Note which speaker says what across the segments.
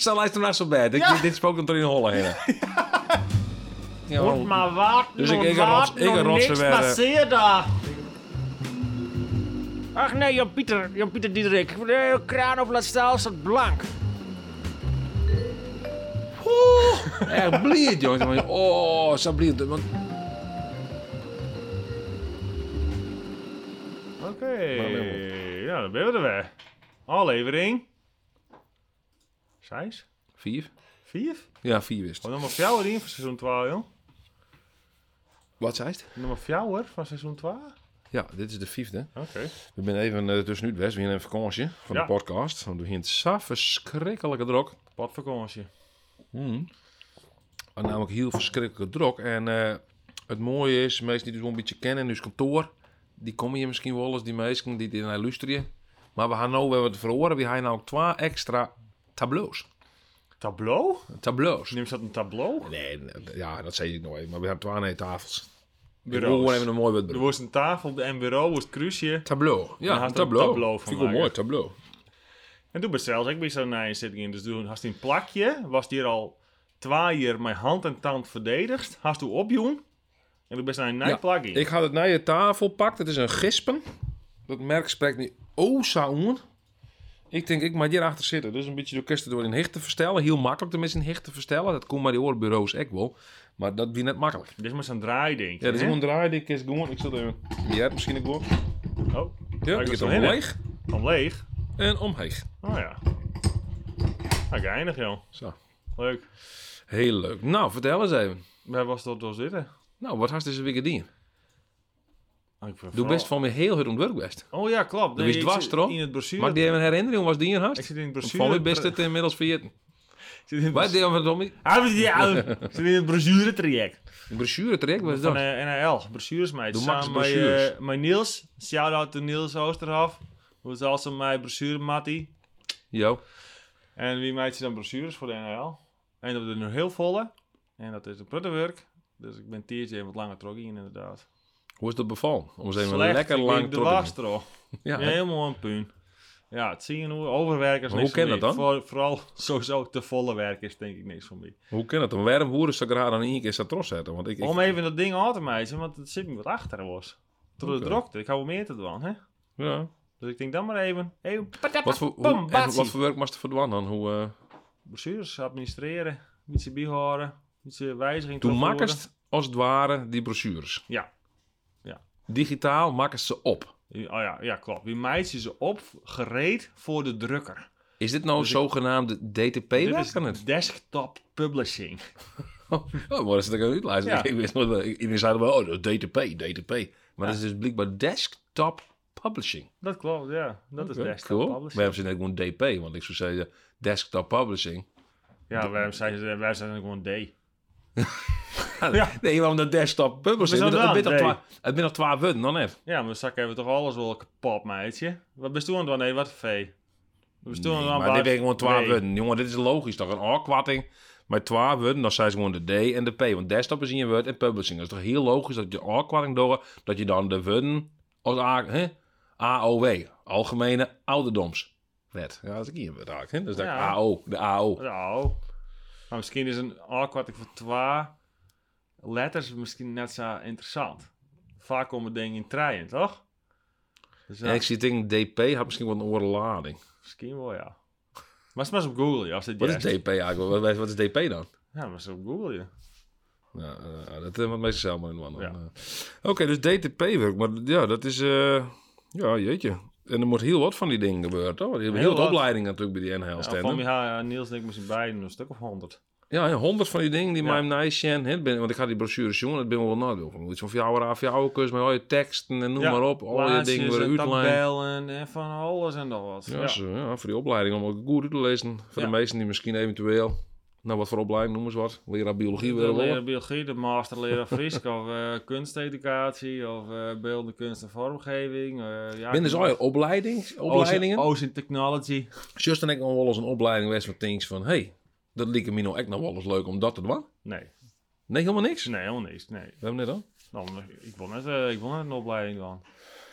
Speaker 1: Zo lijkt hem naast op bed.
Speaker 2: Ja.
Speaker 1: Dit spookt hem door in de holle heen. Ja,
Speaker 2: Moet maar wat,
Speaker 1: Dus
Speaker 2: moet
Speaker 1: ik- ik
Speaker 2: wat,
Speaker 1: rots- ik
Speaker 2: nog
Speaker 1: rotsen
Speaker 2: niks
Speaker 1: weer, eh.
Speaker 2: passeert daar. Ach nee, Jan-Pieter, Jan-Pieter Diederik. De kraan op laat staan staat blank.
Speaker 1: Echt blierd, jongens. Oh, zo blierd. Want
Speaker 2: Oké, ja, dan ben we er weer. Aflevering... Zes?
Speaker 1: Vier?
Speaker 2: Vier?
Speaker 1: Ja, vier is het.
Speaker 2: Wat nummer vier erin van seizoen 12, joh.
Speaker 1: Wat zei het?
Speaker 2: Nummer vier van seizoen 12? Oké.
Speaker 1: Ja, dit is de vijfde. We zijn even eh, tussenuit best. We hebben een vakantie van
Speaker 2: Ja.
Speaker 1: de podcast. Want we hebben zo verschrikkelijke druk.
Speaker 2: Wat vakantie.
Speaker 1: En namelijk heel verschrikkelijke druk. En eh, het mooie is, mensen die dus wel een beetje kennen in ons kantoor, die komen hier misschien wel eens, die mensen die naar luisteren. Maar we gaan nou weer wat verhoren. We gaan nou twee extra tableaus.
Speaker 2: Tableau?
Speaker 1: Tableaus.
Speaker 2: Neemt dat een tableau?
Speaker 1: Nee, nee, ja, dat zei ik nooit. Maar we hebben twee nee, tafels. We
Speaker 2: Bureaus.
Speaker 1: gewoon even een mooi wat
Speaker 2: Er
Speaker 1: bedoelen.
Speaker 2: was een tafel en bureau, was het kruisje.
Speaker 1: Tableau.
Speaker 2: Dan
Speaker 1: Ja,
Speaker 2: had
Speaker 1: een
Speaker 2: er een
Speaker 1: tableau.
Speaker 2: tableau van
Speaker 1: Vind ik wel
Speaker 2: maken.
Speaker 1: mooi, tableau.
Speaker 2: En toen bestelde ik bij zo'n nice zitting in. Dus toen had hij een plakje, was die er al twee jaar mijn hand en tand verdedigd. Had toen opjoen. En toen best naar een
Speaker 1: Ja,
Speaker 2: nice plakje.
Speaker 1: Ik had het naar je tafel pakt. Het is een gispen. Dat merk spreekt niet Osaun. Ik denk, ik mag hierachter zitten. Dus een beetje de orkesten door in hicht te verstellen. Heel makkelijk tenminste in hicht te verstellen. Dat komt bij die oorbureaus ook wel. Maar dat wie net makkelijk.
Speaker 2: Dit is maar zo'n draai, denk
Speaker 1: Ja, dat is
Speaker 2: hè?
Speaker 1: gewoon draaien. Ik is gewoon. Ik zat even. Je hebt misschien ook wel.
Speaker 2: Oh,
Speaker 1: Ja, ik heb
Speaker 2: was er
Speaker 1: hem
Speaker 2: heen, hè?
Speaker 1: leeg
Speaker 2: Van leeg?
Speaker 1: en omheeg.
Speaker 2: Oh ja. Nou, geinig, joh.
Speaker 1: Zo.
Speaker 2: Leuk.
Speaker 1: Heel leuk. Nou, vertel eens even.
Speaker 2: Waar was dat door zitten?
Speaker 1: Nou, wat had deze week gedaan?
Speaker 2: Ah, ik ben
Speaker 1: Doe
Speaker 2: vooral-
Speaker 1: best van me heel hard ontwerp best.
Speaker 2: Oh ja, klopt.
Speaker 1: Doe eens
Speaker 2: ik
Speaker 1: dwars
Speaker 2: zit
Speaker 1: erop.
Speaker 2: In het brochure.
Speaker 1: Maak die even een herinnering, was die in
Speaker 2: Ik
Speaker 1: haast?
Speaker 2: zit in het brochure.
Speaker 1: Van wie best het inmiddels vergeten?
Speaker 2: Ik zit in het
Speaker 1: Wat
Speaker 2: brochure.
Speaker 1: deel van Tommy?
Speaker 2: Ah, we zitten- ja, we- ik zit in het brochure traject.
Speaker 1: Een brochure traject, wat is
Speaker 2: Van
Speaker 1: dat?
Speaker 2: eh, NRL, brochures mij.
Speaker 1: Doe Max
Speaker 2: Samen met,
Speaker 1: brochures.
Speaker 2: eh, met Niels. Shout-out to Niels Oosterhof. Hoe is als een mij brochure Mattie.
Speaker 1: Jo.
Speaker 2: En wie maakt dan brochures voor de NRL? En dat er nu heel volle. En dat is een pruttenwerk. Dus ik ben tiertje even wat langer trok in inderdaad.
Speaker 1: Hoe is dat bevallen? Om eens even
Speaker 2: Slecht,
Speaker 1: lekker
Speaker 2: ik
Speaker 1: lang
Speaker 2: denk de
Speaker 1: trot te
Speaker 2: was erop.
Speaker 1: doen. Ja, hè?
Speaker 2: Helemaal een puin. Ja, het zien hoe overwerkers
Speaker 1: Maar
Speaker 2: niks
Speaker 1: hoe ken
Speaker 2: van mij.
Speaker 1: dat dan?
Speaker 2: Voor- vooral sowieso te volle werk is denk ik niks van mij.
Speaker 1: hoe kan het? Een warm hoeren ze graag dan in één keer zo trots zetten. Want ik, ik-
Speaker 2: Om even dat ding aan te meiden, want het zit me wat achter was. Toen de
Speaker 1: Oké.
Speaker 2: drokte, ik hou wel meer te doen, hè.
Speaker 1: ja.
Speaker 2: Dus ik denk dan maar even, even patap,
Speaker 1: wat, voor, hoe-
Speaker 2: pam,
Speaker 1: even,
Speaker 2: batsie.
Speaker 1: wat voor werk moest er verdwanen dan? Hoe, eh,
Speaker 2: Brochures administreren, ietsje bijhouden, ietsje eh, wijziging
Speaker 1: toen
Speaker 2: terugvoeren.
Speaker 1: makkest als het ware die brochures.
Speaker 2: Ja.
Speaker 1: Digitaal makkest ze op.
Speaker 2: Oh ja, ja, klopt. Wie meid je ze op, gereed voor de drukker.
Speaker 1: Is dit nou zogenaamde dtp
Speaker 2: Dus Dit
Speaker 1: werk
Speaker 2: is
Speaker 1: dan het?
Speaker 2: desktop publishing.
Speaker 1: Oh, maar dat is natuurlijk een uitlijst.
Speaker 2: Ja.
Speaker 1: Ik wist nooit wel- Iedereen zei wel, oh, DTP, DTP. Maar dat is dus blijkbaar desktop publishing.
Speaker 2: Dat klopt, ja. Dat
Speaker 1: Oké,
Speaker 2: is desktop
Speaker 1: cool.
Speaker 2: publishing.
Speaker 1: Maar hebben ze net gewoon DP, want ik zou zeggen desktop publishing.
Speaker 2: Ja, wij zijn, ze- wij zijn gewoon D.
Speaker 1: Ja. Nee, want de desktop publishing,
Speaker 2: Maar
Speaker 1: het
Speaker 2: zo
Speaker 1: het
Speaker 2: dan,
Speaker 1: bent nog
Speaker 2: nee.
Speaker 1: twa- het bent nog twaalf woorden dan net.
Speaker 2: Ja, maar zakken hebben we toch alles wel kapot, meidje. Wat bist toen dan? Nee, wat vee. Wat bist toen
Speaker 1: Nee,
Speaker 2: dan?
Speaker 1: maar dit ben ik gewoon twaalf
Speaker 2: Nee.
Speaker 1: woorden. Jongen, dit is logisch toch? Een afkwatting met twaalf woorden, dan zijn ze gewoon de D en de P. Want desktop is in je woord en publishing. Dat is toch heel logisch dat je afkwatting door, dat je dan de woorden als A, hè? AOW, Algemene Ouderdomswet. Ja, dat is hier woord eigenlijk. Hè? Dus dat
Speaker 2: Ja.
Speaker 1: AO, de AO.
Speaker 2: Nou, maar misschien is een A-kwarting van twee letters misschien net zo interessant. Vaak komen dingen in treien, toch? Dus ja,
Speaker 1: En ik zie denk DP had misschien wel een oorlading.
Speaker 2: misschien wel, ja. Maar smash op Google, ja. Als dit
Speaker 1: Wat
Speaker 2: juist-
Speaker 1: is DP eigenlijk? Wat- Wat, wat is DP dan?
Speaker 2: Ja, maar ze op Google, ja.
Speaker 1: Ja, eh, dat hebben we meestal zelf maar in de man.
Speaker 2: Ja.
Speaker 1: Oké, dus DTP-werk. Maar ja, dat is... eh, ja, jeetje. En er moet heel wat van die dingen gebeuren, toch? Heel, heel
Speaker 2: Heel
Speaker 1: wat
Speaker 2: wat.
Speaker 1: opleidingen natuurlijk bij die nhl
Speaker 2: ja van
Speaker 1: stand
Speaker 2: mij ha- Niels en ik misschien beiden een stuk of honderd.
Speaker 1: Ja, ja, honderd van die dingen die
Speaker 2: Ja.
Speaker 1: mij nice en het ben Want ik had die brochures jongen, dat ben ik wel nadeel van. Iets van jouw af, jouw kus, maar al je teksten en noem
Speaker 2: Ja,
Speaker 1: maar op. Al je
Speaker 2: Plaatsjes
Speaker 1: dingen weer
Speaker 2: en
Speaker 1: uitlijnen.
Speaker 2: tabellen en van alles en nog wat.
Speaker 1: Ja,
Speaker 2: Ja.
Speaker 1: zo, ja, voor die opleiding om ook goed uit te lezen. Voor
Speaker 2: Ja.
Speaker 1: de meesten die misschien eventueel... Nou, wat voor opleiding, noem eens wat. Leraar biologie
Speaker 2: De
Speaker 1: willen worden.
Speaker 2: leraar biologie, de master leraar Friesk of eh, kunsteducatie of eh, beeldende kunst en vormgeving. eh ja,
Speaker 1: Ben dus al je
Speaker 2: Oh,
Speaker 1: opleiding, opleidingen?
Speaker 2: Ocean, Ocean Technology.
Speaker 1: Just en ik nog wel eens een opleiding west van things van... hey, dat liep me nou echt nog wel eens leuk om dat te doen.
Speaker 2: Nee,
Speaker 1: Nee, helemaal niks.
Speaker 2: nee, helemaal niks. Nee.
Speaker 1: We hebben net al.
Speaker 2: Nou, maar ik wil net, eh, ik wil net een opleiding dan.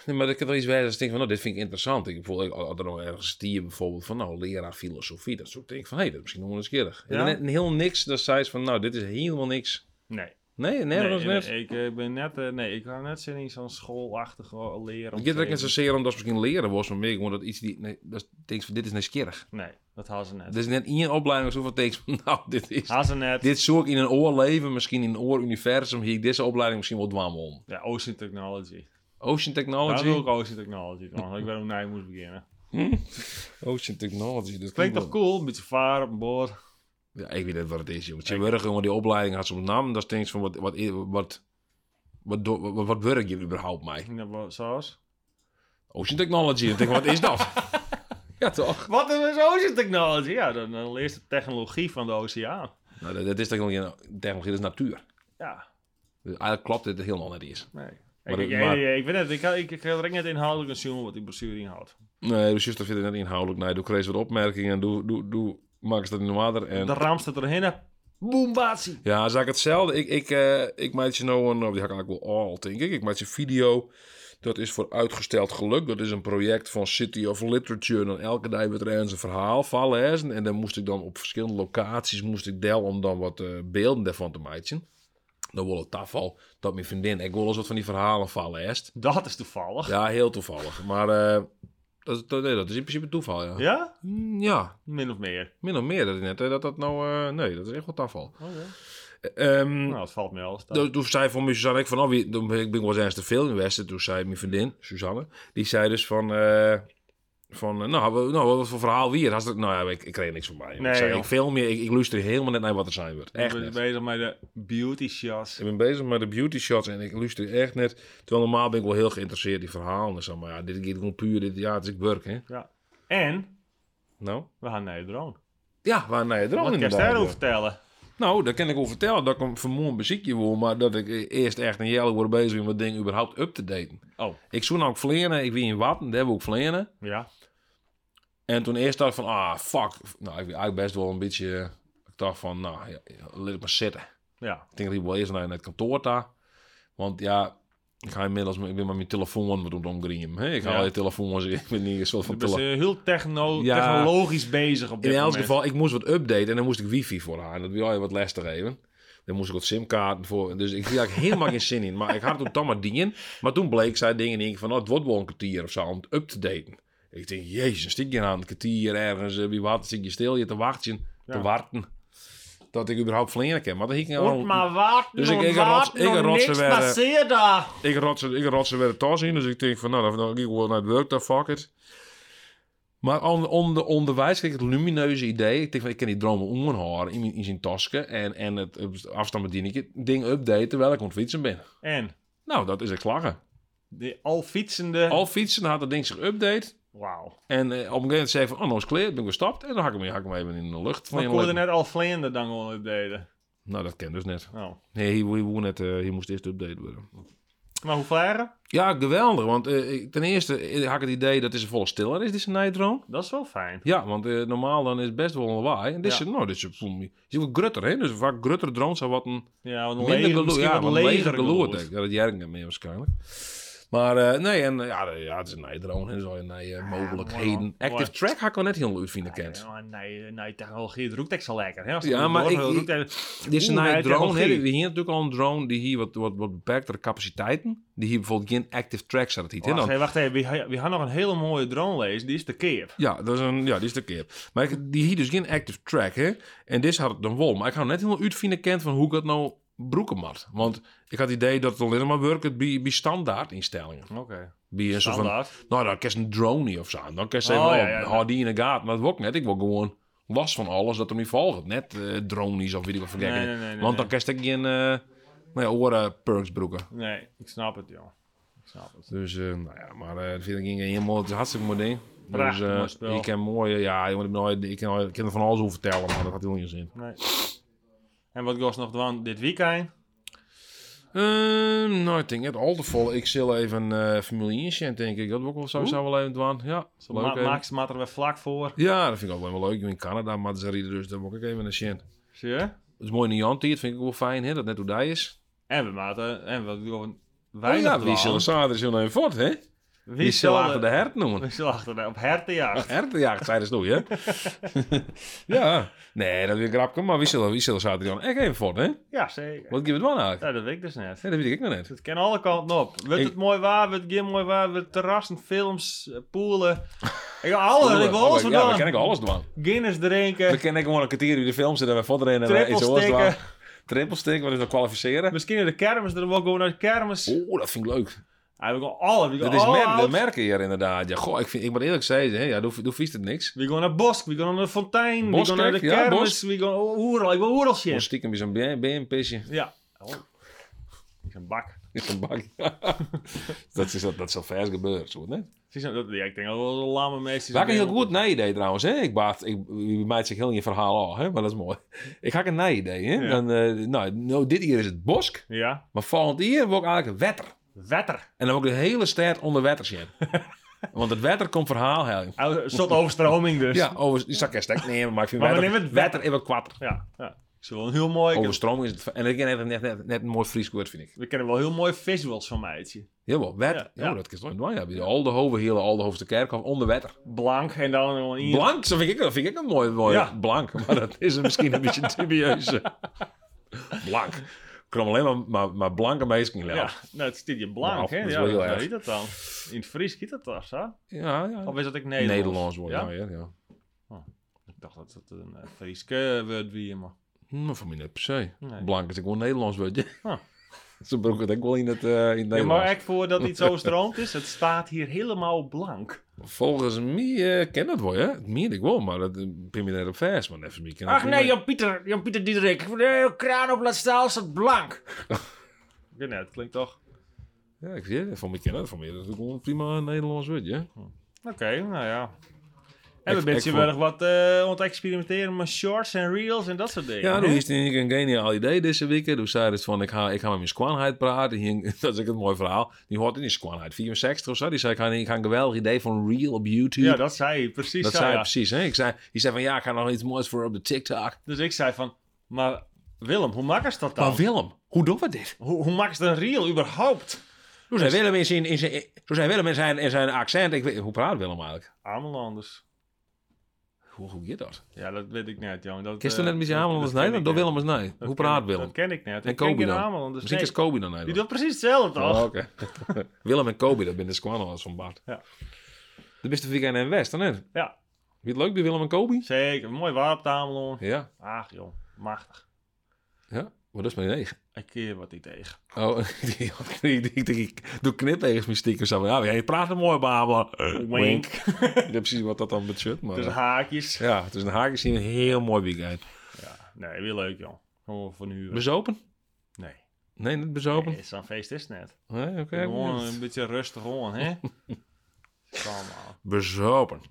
Speaker 1: Nee, maar dat kan toch iets wijzen als ik denk van, nou, dit vind ik interessant. Ik voel, ik had er nog ergens stier bijvoorbeeld van, nou, leraar filosofie, dat soort dingen. Van, hé, hey, dat is misschien nog wel eens keerig.
Speaker 2: Ja.
Speaker 1: En dan net heel niks, dan zei ze van, nou, dit is helemaal niks.
Speaker 2: Nee.
Speaker 1: Nee, nergens
Speaker 2: nee,
Speaker 1: net.
Speaker 2: nee, ik eh, ben net, eh, nee, ik had net zin in zo'n schoolachtige leren.
Speaker 1: Ik denk dat ik net zozeer omdat het misschien leren was, maar meer gewoon dat iets die, nee, dat is- denk van, dit is niks keerig.
Speaker 2: Nee, dat hadden ze net.
Speaker 1: Er is net in je opleiding zoveel tekst van, nou, dit is...
Speaker 2: Hadden ze net.
Speaker 1: Dit zoek ik in een oorleven, misschien in een ooruniversum, hier deze opleiding misschien wel dwam om.
Speaker 2: Ja, Ocean Technology.
Speaker 1: Ocean
Speaker 2: Daar wil ik
Speaker 1: Technology.
Speaker 2: Ocean Technology doen, want ik weet hoe naar je moest beginnen.
Speaker 1: Ocean Technology. Dat
Speaker 2: Klinkt
Speaker 1: wel-
Speaker 2: toch cool? Een beetje vaar op een boord.
Speaker 1: Ja, ik weet niet wat het is, jongen. Ze werken gewoon die opleiding had ze op naam. Dat is denk ik van, wat, wat, wat, wat, do- wat, wat werk je überhaupt mee?
Speaker 2: Ik denk, wat- Zoals?
Speaker 1: Ocean Technology. Ik denk, wat is dat? ja, toch?
Speaker 2: Wat is Ocean Technology? Ja, dan, dan leer je de technologie van de oceaan.
Speaker 1: Nou, dat, dat is technologie, technologie, dat is natuur.
Speaker 2: Ja,
Speaker 1: Dus eigenlijk klopt dit helemaal niet eens.
Speaker 2: nee.
Speaker 1: Maar
Speaker 2: ik, ik,
Speaker 1: dat- maar-
Speaker 2: ik, ik weet het, ik, ik, ik ga er net inhoudelijk een zoom wat die blessure inhoudt.
Speaker 1: Nee, dus juist dat vindt het net inhoudelijk. Nee, doe crazy wat opmerkingen. Doe, doe, doe, maak ze dat in de water. En...
Speaker 2: De ram staat erheen. Boombatie.
Speaker 1: Ja, is eigenlijk hetzelfde. Ik, ik, eh, ik maak je nou een, of die ga ik eigenlijk wel al, denk ik. Ik maak je een video. Dat is voor uitgesteld geluk. Dat is een project van City of Literature. En dan elke dag werd er eens een verhaal van lezen. En dan moest ik dan op verschillende locaties moest ik delen om dan wat eh, beelden daarvan te maken. Dan wil het tafel dat mijn vriendin. Ik wil eens wat van die verhalen van leest.
Speaker 2: Dat is toevallig. Ja?
Speaker 1: Ja, heel toevallig. Maar eh, dat, is- dat, nee, dat is in principe toeval, ja. Mm, ja,
Speaker 2: Min of meer.
Speaker 1: min of meer dat is net. hè, Dat dat nou... eh, nee, dat is echt wel tafel.
Speaker 2: Oké.
Speaker 1: Ehm
Speaker 2: Nou, dat valt mij wel. eens tegen.
Speaker 1: toen, toen zei voor me Suzanne, ik van, oh, wie, toen ben ik ben wel eens ergens te veel in Westen. Toen zei mijn vriendin, Suzanne, die zei dus van, eh, van eh, nou, we- nou, wat voor verhaal wie het? Had ze- Nou ja, ik, ik kreeg niks van mij.
Speaker 2: Nee,
Speaker 1: ik, zei,
Speaker 2: joh.
Speaker 1: ik film je, ik, ik luister helemaal net naar wat er zijn wordt.
Speaker 2: Ik
Speaker 1: Echt
Speaker 2: ben
Speaker 1: net.
Speaker 2: bezig met de beauty shots.
Speaker 1: Ik ben bezig met de beauty shots en ik luister echt net. Terwijl normaal ben ik wel heel geïnteresseerd in verhalen. en zo, Maar ja, dit keer gewoon puur, dit, ja, het is werk, hè.
Speaker 2: En
Speaker 1: Nou?
Speaker 2: we gaan naar de drone.
Speaker 1: Ja, waar naar je droom
Speaker 2: Wat kan je
Speaker 1: inderdaad.
Speaker 2: daarover
Speaker 1: ja.
Speaker 2: vertellen?
Speaker 1: Nou, daar kan ik wel vertellen dat ik een vermoeiend muziekje wil. Maar dat ik eh, eerst echt een jelle word bezig om dat ding überhaupt up te daten.
Speaker 2: Oh,
Speaker 1: Ik zoen ook vleren, ik wie in Watten, daar hebben we ook vleren.
Speaker 2: ja.
Speaker 1: En toen eerst dacht ik van, ah, fuck. Nou, ik ben eigenlijk best wel een beetje... eh, Ik dacht van, nou, ja, ja, laat ik maar zitten.
Speaker 2: Ja.
Speaker 1: Ik denk dat ik wel eerst naar het kantoor daar. Want ja, ik ga inmiddels... Ik ben met mijn telefoon met omgringen. hè. Ik
Speaker 2: Ja.
Speaker 1: haal je telefoon, ik ben niet een soort van...
Speaker 2: Je bent
Speaker 1: Tele-
Speaker 2: eh, heel techno
Speaker 1: Ja.
Speaker 2: technologisch bezig op dit
Speaker 1: in elk
Speaker 2: moment.
Speaker 1: geval, ik moest wat updaten en dan moest ik wifi voor haar. En dat wil je wat lastig even. Dan moest ik wat simkaarten voor. Dus ik had eigenlijk helemaal geen zin in. Maar ik had toen dan maar dingen. Maar toen bleek zij dingen en ik van, oh, het wordt wel een kwartier of zo om het up te daten. Ik denk, jezus, stik je aan een kwartier ergens. eh, Wie wat, zit je stil, je te wachten.
Speaker 2: Ja.
Speaker 1: Te wachten. Dat ik überhaupt vleren kan. Maar dan ging ik
Speaker 2: Moet
Speaker 1: al...
Speaker 2: maar wachten,
Speaker 1: Dus ik-
Speaker 2: moet
Speaker 1: ik rots-
Speaker 2: wachten,
Speaker 1: ik
Speaker 2: nog
Speaker 1: rotsen eh.
Speaker 2: niks
Speaker 1: werden.
Speaker 2: passeert daar.
Speaker 1: Ik rotsen, ik rotsen weer de tas in. Dus ik denk van, nou, dan, dan ga ik wel naar het werk, dan fuck it. Maar on, on de onderwijs kreeg ik het lumineuze idee. Ik denk van, ik kan die dromen omhouden in, mijn- in zijn tasken. En, en het op afstand bedienen. Ik het ding updaten terwijl ik aan het fietsen ben.
Speaker 2: En
Speaker 1: Nou, dat is echt lachen.
Speaker 2: de al fietsende...
Speaker 1: Al fietsen had dat ding zich update.
Speaker 2: Wauw.
Speaker 1: En eh, op een gegeven moment zei ik van, oh, nou is het klaar. Ik ben gestapt. En dan hak ik hem, hak ik hem even in de lucht.
Speaker 2: Maar ik
Speaker 1: Van je
Speaker 2: hoorde
Speaker 1: leven.
Speaker 2: net al vleender dan gewoon updaten.
Speaker 1: Nou, dat ken dus net.
Speaker 2: Oh.
Speaker 1: Nee, hier, hier, hier, net, eh, hier moest eerst update worden.
Speaker 2: Maar hoe varen?
Speaker 1: Ja, geweldig. Want eh, ik- ten eerste eh, had ik het idee dat is een volle stiller is, deze nijdroom.
Speaker 2: Dat is wel fijn.
Speaker 1: Ja, want eh, normaal dan is het best wel een lawaai. En dit
Speaker 2: Ja.
Speaker 1: is, nou, dit is voel me- je ziet wel grutter, hè? Dus vaak grutter drones zijn wat een
Speaker 2: Ja, want een
Speaker 1: minder
Speaker 2: leger,
Speaker 1: geloerd.
Speaker 2: misschien
Speaker 1: Ja,
Speaker 2: wat
Speaker 1: wat
Speaker 2: leger
Speaker 1: leger geloerd.
Speaker 2: geloerd.
Speaker 1: denk ik. Ja, dat jerken meer waarschijnlijk. Maar eh, nee, en eh, ja, de- ja, het is een nee drone en zo en nee eh, mogelijkheden.
Speaker 2: mooi, man.
Speaker 1: Active
Speaker 2: Mooi.
Speaker 1: track had ik wel net heel leuk vinden kent.
Speaker 2: Ja, nee, nee, technologie, het roept echt zo lekker. Hè? Als
Speaker 1: Ja,
Speaker 2: je
Speaker 1: maar
Speaker 2: door-
Speaker 1: ik-
Speaker 2: roept echt-
Speaker 1: Dit is een
Speaker 2: Oeh,
Speaker 1: nee
Speaker 2: nee,
Speaker 1: drone. hè.
Speaker 2: technologie.
Speaker 1: We hier natuurlijk al een drone die hier wat, wat, wat beperktere capaciteiten. Die hier bijvoorbeeld geen active track zat het niet. hè.
Speaker 2: Wacht
Speaker 1: Dan-
Speaker 2: even, wacht even. We, ha- we hadden nog een hele mooie drone lezen. Die is de keer.
Speaker 1: Ja, dat is een, ja, die is de keer. Maar ik, die hier dus geen active track, hè. En dit had ik dan wel. Maar ik had net helemaal uitvinden kent van hoe ik dat nou broeken moet. Want ik had het idee dat het alleen maar werkt bij, bij standaard instellingen.
Speaker 2: Oké.
Speaker 1: Bij een soort van,
Speaker 2: Standaard.
Speaker 1: nou, dan kerst een drone niet of zo. Dan kerst ze
Speaker 2: Oh,
Speaker 1: even, oh,
Speaker 2: ja, ja, ja.
Speaker 1: hou die in de gaten. Maar dat wil ik net. Ik wil gewoon last van alles dat er niet volgt. Net eh dronies of weet ik wat voor
Speaker 2: Nee,
Speaker 1: gekken.
Speaker 2: nee, nee, nee,
Speaker 1: Want dan kerst ik geen eh nou ja, oren perks broeken.
Speaker 2: Nee, ik snap het, joh. Ik snap het.
Speaker 1: Dus, eh, nou ja, maar eh, dat vind ik niet helemaal, het is een hartstikke mooi ding. Dus,
Speaker 2: Prachtig
Speaker 1: eh,
Speaker 2: mooi spel.
Speaker 1: Ik ken mooie, ja, jongen, ik, ben nooit- ik, ken, ik ken er van alles over vertellen, maar dat had heel geen zin.
Speaker 2: Nee. En wat was nog doen dit weekend?
Speaker 1: Ehm nou, ik denk net al te vol. Ik zal even eh familie inzien, denk ik. Dat wil ik wel zo
Speaker 2: Oeh.
Speaker 1: zou wel even doen. Ja, leuk.
Speaker 2: Ma
Speaker 1: even.
Speaker 2: Max maakt er weer vlak voor.
Speaker 1: Ja, dat vind ik ook wel leuk. Ik ben in Canada, maar ze rijden dus, dat wil ik ook even een zin.
Speaker 2: Zie je?
Speaker 1: Het is mooi in Jantie, dat vind ik ook wel fijn, hè, dat net hoe dat is.
Speaker 2: En we maten. En we doen
Speaker 1: Oh
Speaker 2: weinig
Speaker 1: ja, wie
Speaker 2: dwaan.
Speaker 1: zullen zaterdag zullen even voort, hè? Wie
Speaker 2: zal
Speaker 1: slagen de hert noemen?
Speaker 2: Dus We zullen achter de, op hertenjacht.
Speaker 1: Hertenjacht, zeiden ze toen, hè? ja. Nee, dat is een grapje, maar wie zullen, wie zullen zaterdag dan echt even voor, hè?
Speaker 2: Ja, zeker.
Speaker 1: Wat geeft het man uit?
Speaker 2: Ja, dat weet ik dus net.
Speaker 1: Ja, dat weet ik nog net.
Speaker 2: Het kan alle kanten op. Wordt
Speaker 1: Ik-
Speaker 2: het mooi waar, wordt het geen mooi waar, wordt terrassen, films, eh, poelen. Ik wil alles, ik wil alles
Speaker 1: Oh, Ja, we
Speaker 2: vandaan.
Speaker 1: kennen ik alles doen.
Speaker 2: Guinness
Speaker 1: We
Speaker 2: drinken,
Speaker 1: kennen gewoon een kwartier uur de film zitten we verder in en we
Speaker 2: Triple
Speaker 1: iets anders doen.
Speaker 2: stikken.
Speaker 1: Triple stick, wat is dat kwalificeren?
Speaker 2: misschien in de kermis, dan wil ik gewoon naar de kermis.
Speaker 1: Oeh, dat vind ik leuk.
Speaker 2: Ja, oh, we gaan alle, we
Speaker 1: Dat
Speaker 2: gaan
Speaker 1: is
Speaker 2: alle
Speaker 1: mer
Speaker 2: ouds.
Speaker 1: dat merken hier inderdaad. Ja, goh, ik, vind, ik moet eerlijk zeggen, hè, ja, doe, doe vies het niks.
Speaker 2: We gaan naar Bosk, we gaan naar de fontein, we gaan
Speaker 1: Boskijk,
Speaker 2: naar de
Speaker 1: ja,
Speaker 2: kermis,
Speaker 1: Bosk.
Speaker 2: we gaan o- oeral, ik wil oeral zien.
Speaker 1: Gewoon stiekem bij zo'n BM BM-pisje.
Speaker 2: Ja. Oh. Ik een bak.
Speaker 1: In zo'n bak. dat, is, dat, dat zal vers gebeuren, zo net.
Speaker 2: Zie je, dat, ja, ik denk dat wel de lamme meisjes...
Speaker 1: Waar ik een heel goed na-idee trouwens, hè? Ik baat, ik, je maakt zich heel in je verhaal al, hè? Maar dat is mooi. Ik had een na-idee, hè?
Speaker 2: Ja.
Speaker 1: Dan, eh, nou, nou, dit hier is het bosk,
Speaker 2: Ja.
Speaker 1: maar volgend jaar wil ik eigenlijk wetter.
Speaker 2: Wetter.
Speaker 1: En dan wil ik de hele stad onder wetter zetten. Want het wetter komt verhaal halen.
Speaker 2: Een soort overstroming dus.
Speaker 1: Ja, over, ik zou geen stek nemen, maar ik vind
Speaker 2: Maar we
Speaker 1: wetter,
Speaker 2: nemen het wetter.
Speaker 1: wetter in wat kwatter.
Speaker 2: Ja. ja. Is wel een heel mooi...
Speaker 1: Overstroming is het. En ik net, net, net, net een mooi Fries woord, vind ik.
Speaker 2: We kennen wel heel mooie visuals van meidje.
Speaker 1: Heel wel, wetter.
Speaker 2: Ja,
Speaker 1: Ja,
Speaker 2: ja.
Speaker 1: dat is toch mooi. Ja, bij de Aldehoven, hele Aldehoofse kerk, of onder wetter.
Speaker 2: Blank en dan gewoon in.
Speaker 1: Blank, zo vind ik, dat vind ik een mooi woord.
Speaker 2: Ja.
Speaker 1: Blank, maar dat is misschien een beetje dubieus. Blank. Ik kwam alleen maar, maar, maar blanke meisjes in
Speaker 2: Ja,
Speaker 1: ja.
Speaker 2: nou, het stiet je blank,
Speaker 1: Nou,
Speaker 2: hè?
Speaker 1: dat is
Speaker 2: Ja,
Speaker 1: wel heel
Speaker 2: dat
Speaker 1: erg.
Speaker 2: heet dat dan. In het Fries giet dat toch, zo?
Speaker 1: ja, ja.
Speaker 2: Of is dat ik Nederlands?
Speaker 1: Nederlands woord,
Speaker 2: Ja?
Speaker 1: ja. ja, ja.
Speaker 2: Ik dacht dat het een eh, Frieske woord wie, maar...
Speaker 1: Hm, Maar voor mij net per se.
Speaker 2: Nee.
Speaker 1: Blank is ook wel een Nederlands woordje.
Speaker 2: Huh.
Speaker 1: Ze broeken het ook wel in het, eh, in het
Speaker 2: Ja,
Speaker 1: Nederlands.
Speaker 2: maar echt voor dat iets zo stroomt is, het staat hier helemaal blank.
Speaker 1: Volgens mij eh ken dat wel, hè? Dat meen ik wel, maar dat eh, pin je net op vers. Maar even meer ken dat
Speaker 2: Ach
Speaker 1: niet
Speaker 2: nee,
Speaker 1: meer.
Speaker 2: Jan-Pieter, Jan-Pieter Diederik. De kraan op laat staan staat blank. Ik weet niet, het klinkt toch...
Speaker 1: Ja, ik zie het. Voor mij ken dat. Voor mij dat is ook wel een prima Nederlands woordje. hè.
Speaker 2: Oké, nou ja. En we
Speaker 1: Ik-
Speaker 2: ben
Speaker 1: ik
Speaker 2: je
Speaker 1: vond-
Speaker 2: wel nog wat eh ont experimenteren met shorts en reels en dat soort dingen.
Speaker 1: Ja,
Speaker 2: hè?
Speaker 1: toen is het in een geniaal idee deze week. Toen zei het van, ik ga, ik ga met mijn squanheid praten. Hier- dat is ook een mooi verhaal. Die hoort in die squanheid, 64 of zo. Die zei, ik ga, ik ga een geweldig idee van Real op YouTube.
Speaker 2: Ja,
Speaker 1: dat
Speaker 2: dat zei je, precies.
Speaker 1: zei hij
Speaker 2: ja.
Speaker 1: precies. Hè? Ik zei, die zei van, ja, ik ga nog iets moois voor op de TikTok.
Speaker 2: Dus ik zei van, maar Willem, hoe maken ze dat dan?
Speaker 1: Maar Willem, hoe doen we dit?
Speaker 2: hoe, hoe maken ze een reel überhaupt?
Speaker 1: Toen zei Willem in zijn, in zijn, toen zei Willem in zijn, in zijn accent. Ik weet, hoe praat Willem eigenlijk?
Speaker 2: Amelanders.
Speaker 1: Hoe, hoe gaat dat?
Speaker 2: Ja, dat weet ik net, jongen. Dat,
Speaker 1: Gisteren
Speaker 2: eh,
Speaker 1: net met
Speaker 2: dat-
Speaker 1: zijn Amelanders
Speaker 2: dat ken
Speaker 1: Nederland,
Speaker 2: ik
Speaker 1: door
Speaker 2: net.
Speaker 1: Willem is nee.
Speaker 2: Dat
Speaker 1: Hoe
Speaker 2: ken
Speaker 1: praat
Speaker 2: ik-
Speaker 1: Willem?
Speaker 2: Dat ken ik net.
Speaker 1: En
Speaker 2: Ik ken
Speaker 1: Kobe
Speaker 2: geen
Speaker 1: dan?
Speaker 2: Amelanders.
Speaker 1: Misschien
Speaker 2: Nee,
Speaker 1: is Kobe dan
Speaker 2: die
Speaker 1: Nederland.
Speaker 2: doet precies hetzelfde, toch?
Speaker 1: Oh, oké. Willem en Kobe, dat zijn de squanala's van Bart.
Speaker 2: Ja.
Speaker 1: De beste weekend in West, dan net.
Speaker 2: Ja,
Speaker 1: Wie het leuk bij Willem en Kobe?
Speaker 2: zeker. Mooi warm op de Ameland.
Speaker 1: Ja.
Speaker 2: Ach, joh. Machtig.
Speaker 1: Ja. Maar dat is mijn negen.
Speaker 2: Ik keer wat niet tegen.
Speaker 1: Oh, ik, ik, ik, ik, ik doe knipegens mijn stiekem zo. van, Ja, je praat een mooi Babel.
Speaker 2: Wink.
Speaker 1: Ik weet precies wat dat dan betreft. Maar, eh,
Speaker 2: Dus haakjes.
Speaker 1: ja, het is een haakjes hier een heel mooi weekend.
Speaker 2: Nee, weer leuk, joh. Gewoon voor nu.
Speaker 1: Bezopen?
Speaker 2: Nee.
Speaker 1: Nee, niet bezopen.
Speaker 2: Nee, Zo'n feest is het net.
Speaker 1: Nee, oké.
Speaker 2: Gewoon een beetje rustig on, hè? Kom man.
Speaker 1: Bezopen.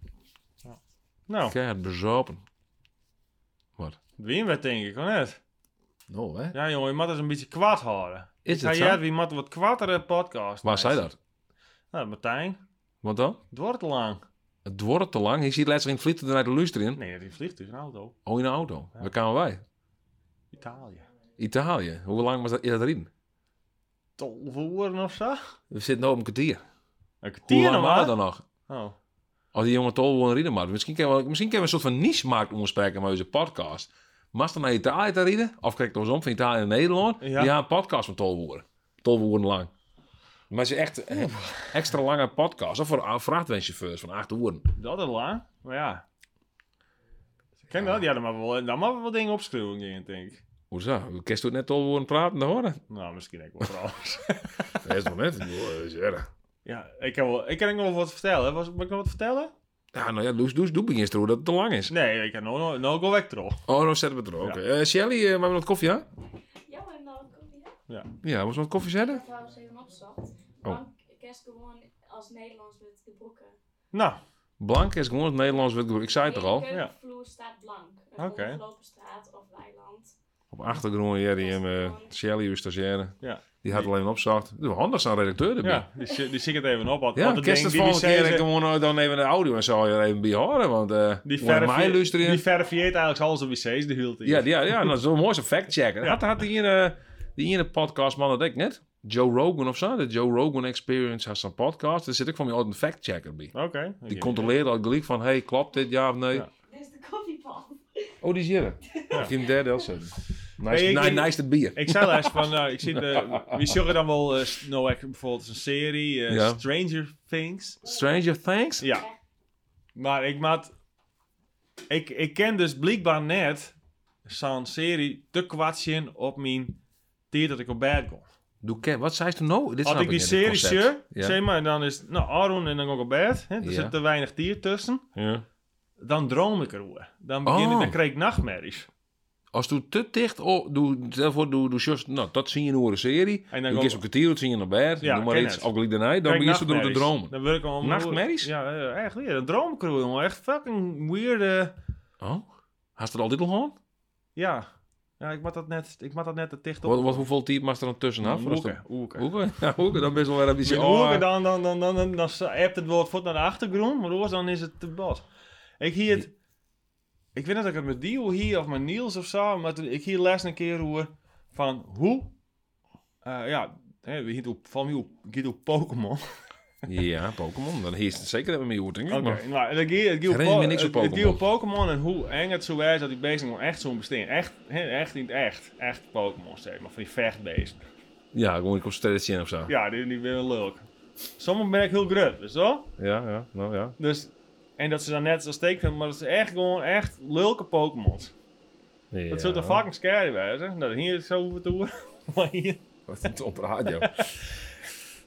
Speaker 2: Nou,
Speaker 1: Kijk, bezopen. Wat?
Speaker 2: wie werd denk ik, of net?
Speaker 1: Nou, hè?
Speaker 2: Ja, jongen, je moet eens een beetje kwaad houden.
Speaker 1: Is
Speaker 2: Ja,
Speaker 1: het zo?
Speaker 2: ja, wie moet wat kwartere podcast.
Speaker 1: Waar zei dat?
Speaker 2: Nou, Martijn.
Speaker 1: Wat dan?
Speaker 2: Het wordt te lang.
Speaker 1: Het wordt te lang. Je ziet laatst in het vliegtuig naar de luister in.
Speaker 2: Nee, die vliegt dus een auto.
Speaker 1: Oh, in een auto. Waar kwamen wij?
Speaker 2: Italië.
Speaker 1: Italië. Hoe lang was dat, is dat erin?
Speaker 2: Tolve uren of zo?
Speaker 1: We zitten nu op een kwartier.
Speaker 2: Een kwartier
Speaker 1: Hoe lang
Speaker 2: nog
Speaker 1: waren
Speaker 2: maar.
Speaker 1: we dan nog?
Speaker 2: Oh.
Speaker 1: Als die jongen tol wil een rieden maakt. Misschien kunnen we, misschien kunnen we een soort van niche-markt omspreken met onze podcast. Mag dan naar Italië te rieden? Of kijk ons om van Italië naar Nederland?
Speaker 2: Ja.
Speaker 1: Die gaan een podcast van tolwoorden. Tolwoorden lang. Maar ze echt eh, extra lange podcast. Of voor vrachtwagenchauffeurs van acht uur.
Speaker 2: Dat is lang. Maar ja. nou, Ken dat? Ja, dan mag wel, dan mag wel dingen opschreeuwen, denk ik.
Speaker 1: Hoezo? We kerst net tolwoorden praten, dan horen.
Speaker 2: Nou, misschien ook wel trouwens.
Speaker 1: Dat is nog net. Joh, is erg.
Speaker 2: Ja, ik kan, wel, ik kan ook nog wel wat vertellen. Was, mag ik nog wat vertellen?
Speaker 1: Ja, nou ja, doe, doe, doe begin eens terug dat het te lang is.
Speaker 2: Nee, ik kan nog no, no go weg terug.
Speaker 1: Oh, dan zetten we het er ook. Eh, Shelly, eh, maar we wat koffie aan?
Speaker 3: Ja, we hebben nou een koffie gehad.
Speaker 1: Ja, moest we wat koffie zetten?
Speaker 3: Dat trouwens dus even opzat.
Speaker 2: Oh.
Speaker 3: Want kerst gewoon als Nederlands met de broeken.
Speaker 2: Nou,
Speaker 1: Blank is gewoon het Nederlands. woord. Ik zei het toch al.
Speaker 3: De keukenvloer staat blank. Een
Speaker 2: Oké.
Speaker 3: ongelopen straat of weiland.
Speaker 1: Op achtergrond hier, die hem, eh, Shelly, uw stagiaire.
Speaker 2: ja.
Speaker 1: Die had alleen opzacht. Dat is wel handig zo'n redacteur erbij. Ja,
Speaker 2: ja die, zie- die zie ik het even op. Want,
Speaker 1: ja
Speaker 2: want
Speaker 1: de
Speaker 2: het
Speaker 1: kerst het
Speaker 2: ding die, die,
Speaker 1: volgende keer
Speaker 2: zei ze-
Speaker 1: gewoon eh, dan even de audio en zo er even bij horen. Want eh moet
Speaker 2: die,
Speaker 1: je mij
Speaker 2: verifie-
Speaker 1: luisteren.
Speaker 2: die verifieert eigenlijk alles op wc's, de hield
Speaker 1: ja, die- ja, ja, dat is wel mooi zo'n fact checken.
Speaker 2: Ja.
Speaker 1: Had, had die ene die ene podcast man dat ik net? Joe Rogan of zo. De Joe Rogan Experience heeft zo'n podcast. Daar zit ik van mij altijd een fact-checker bij.
Speaker 2: Oké. oké.
Speaker 1: Die controleert al gelijk van, hey, klopt dit ja of nee?
Speaker 2: Ja.
Speaker 3: Dit is de koffiepan.
Speaker 1: Oh, die is hier.
Speaker 2: Ja.
Speaker 1: Ik vind derde wel zo. Nice,
Speaker 2: Hey, ik-
Speaker 1: nice, nice het bier.
Speaker 2: Ik zei laatst van, nou, ik zie de, we zorgen dan wel, eh, s- nou, echt bijvoorbeeld een serie, eh,
Speaker 1: Ja.
Speaker 2: Stranger Things.
Speaker 1: Stranger Things?
Speaker 2: Ja. Maar ik maat, ik, ik ken dus blijkbaar net zo'n serie te kwatschen op mijn tijd dat ik op bed kom.
Speaker 1: Doe ik- wat zei ze nou? Dit
Speaker 2: Als
Speaker 1: snap
Speaker 2: ik die
Speaker 1: niet,
Speaker 2: serie
Speaker 1: dit
Speaker 2: zie,
Speaker 1: concept. Ja.
Speaker 2: zeg maar, dan is het, nou, Aaron en dan ook op bed. Hè, er
Speaker 1: Ja.
Speaker 2: zit te weinig tier tussen.
Speaker 1: Ja.
Speaker 2: Dan droom ik erover. Dan, begin ik,
Speaker 1: Oh.
Speaker 2: dan krijg ik nachtmerries.
Speaker 1: Als doe te dicht, oh, doe, daarvoor doe, doe just, nou, dat zie je in een serie.
Speaker 2: En dan
Speaker 1: Dan kies
Speaker 2: gewoon-
Speaker 1: ook een tier, dat zie je in bed.
Speaker 2: Ja,
Speaker 1: doe maar
Speaker 2: ken
Speaker 1: iets,
Speaker 2: het.
Speaker 1: ook gelijk daarna. Dan
Speaker 2: Kijk,
Speaker 1: begin je door te
Speaker 2: nachtmerries.
Speaker 1: dromen.
Speaker 2: Dan word ik al
Speaker 1: Nachtmerries?
Speaker 2: Ja, eh, echt weer. Een droomcrew, jongen. Echt fucking weird. eh,
Speaker 1: Oh, had er al dit al gehad?
Speaker 2: ja. Ja, ik maak dat net, ik maak dat net te dicht op.
Speaker 1: Wat, wat hoeveel type mag er dan tussenaf? Als
Speaker 2: Oeken,
Speaker 1: dat-
Speaker 2: oeken.
Speaker 1: Hoeken? Ja, hoeken, dan best wel weer een
Speaker 2: Met
Speaker 1: beetje...
Speaker 2: oeken,
Speaker 1: oh,
Speaker 2: dan, dan, dan, dan, dan, dan hebt het woord voort naar de achtergrond, maar anders dan is het te bas. Ik hier het, ik weet niet of ik het met Dio hier of met Niels of zo, maar toen- ik hier les een keer hoor van hoe, eh, ja, hè, we hier van wie gaat op Pokémon.
Speaker 1: Oh, Ja, Pokémon. Dan heerst het zeker dat we mee hoort, denk ik.
Speaker 2: Oké,
Speaker 1: maar-
Speaker 2: nou, en dan ging- het ging op
Speaker 1: Herinner me
Speaker 2: Po-
Speaker 1: niks op
Speaker 2: het- het ging op
Speaker 1: Pokémon.
Speaker 2: Pokémon en hoe eng het zo is dat die beesten gewoon echt zo'n bestaan. Echt, hè, echt in het echt. Echt Pokémon, zeg maar, van die vechtbeesten.
Speaker 1: Ja, gewoon ik op strategie in of zo. Ja,
Speaker 2: Ja, die, die willen leuk. Sommigen ben ik heel grut, dus zo.
Speaker 1: ja, nou ja.
Speaker 2: Dus, en dat ze dan net zo steek vinden, maar dat is echt gewoon echt lulke Pokémon's.
Speaker 1: ja.
Speaker 2: Dat zullen fucking scary wijzen. Nou, hier is zo hoeven te worden. Maar, hier,
Speaker 1: Wat een top radio.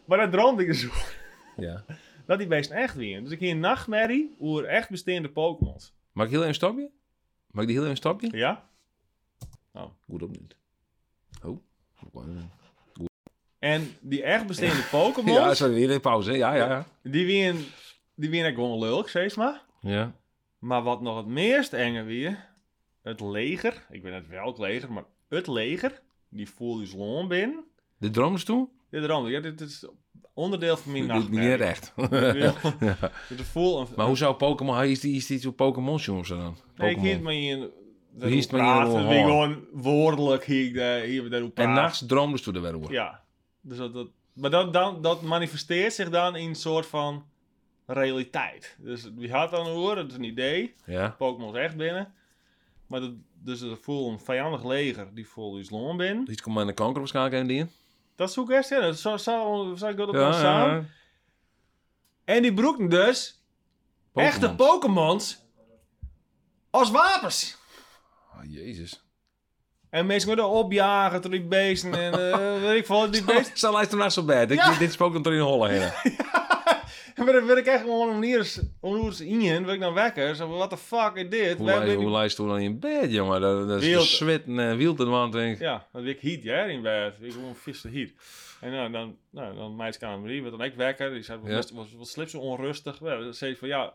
Speaker 2: maar dat droomde ik dus over,
Speaker 1: ja.
Speaker 2: dat die beesten echt weer. Dus ik hier een nachtmerrie over echt bestaande Pokémon's.
Speaker 1: Maak ik heel even een stapje? Maak ik die heel even een stapje?
Speaker 2: Ja?
Speaker 1: Goed op niet. Oh.
Speaker 2: En die echt bestaande
Speaker 1: Ja,
Speaker 2: Pokémon's,
Speaker 1: sorry, weer in pauze. hè? Ja, ja, ja.
Speaker 2: die weer die weer echt gewoon lulk, zeg maar.
Speaker 1: Ja.
Speaker 2: Maar wat nog het meest enge weer, het leger, ik weet niet welk leger, maar het leger, die voel je loon binnen.
Speaker 1: De drooms toe?
Speaker 2: Dit droomde ik, ja, dit is onderdeel van mijn
Speaker 1: Dit is niet
Speaker 2: nachtmerrie.
Speaker 1: echt.
Speaker 2: Ja. Het voel een,
Speaker 1: Maar hoe zou Pokémon... Hij is die is die zo Pokémon jongens dan?
Speaker 2: Nee, ik hield
Speaker 1: Pokémon.
Speaker 2: me hier.
Speaker 1: Hier is het me
Speaker 2: praten,
Speaker 1: hier
Speaker 2: wie
Speaker 1: gewoon.
Speaker 2: gewoon woordelijk hier, daar- hier daarop
Speaker 1: En
Speaker 2: praten.
Speaker 1: nachts droomden ze er weer over.
Speaker 2: Ja. Dus dat, dat, maar dat, dan, dat manifesteert zich dan in een soort van realiteit. Dus wie had dan horen, dat is een idee.
Speaker 1: Ja.
Speaker 2: Pokémon is echt binnen. Maar dat, dus dat voel een vijandig leger die vol is loon binnen.
Speaker 1: Iets komt met een kanker waarschijnlijk aan die in.
Speaker 2: Dat zoek ik echt in. Dat zou zou- zou ik dat ook wel
Speaker 1: Ja,
Speaker 2: samen.
Speaker 1: ja.
Speaker 2: En die broeken dus echte
Speaker 1: Pokémon.
Speaker 2: Pokémons als wapens.
Speaker 1: Ah, Jezus.
Speaker 2: En mensen worden opjagen door die beesten en eh, weet ik veel, die beesten.
Speaker 1: Zal hij naar nou zo bed? Ik-
Speaker 2: Ja.
Speaker 1: Dit spookt hem er in Holland heen.
Speaker 2: En dan werd ik echt gewoon om hier eens- om hier eens in, werd ik dan wekker. Zo, what the fuck is dit?
Speaker 1: Hoe
Speaker 2: Wij-
Speaker 1: lijst-
Speaker 2: wij-
Speaker 1: Hoe lijst toen dan in bed, jongen? Dat dat is
Speaker 2: Wild.
Speaker 1: de zwit en eh, wild en want denk ik.
Speaker 2: Ja, dat ik heat, ja, in bed. Ik gewoon viste heat. En nou, dan, nou, dan meidskamer die, werd dan ik wekker. Die zei,
Speaker 1: Ja.
Speaker 2: wat, wat, wat sliep ze onrustig? Ja, dan zei ze van, ja,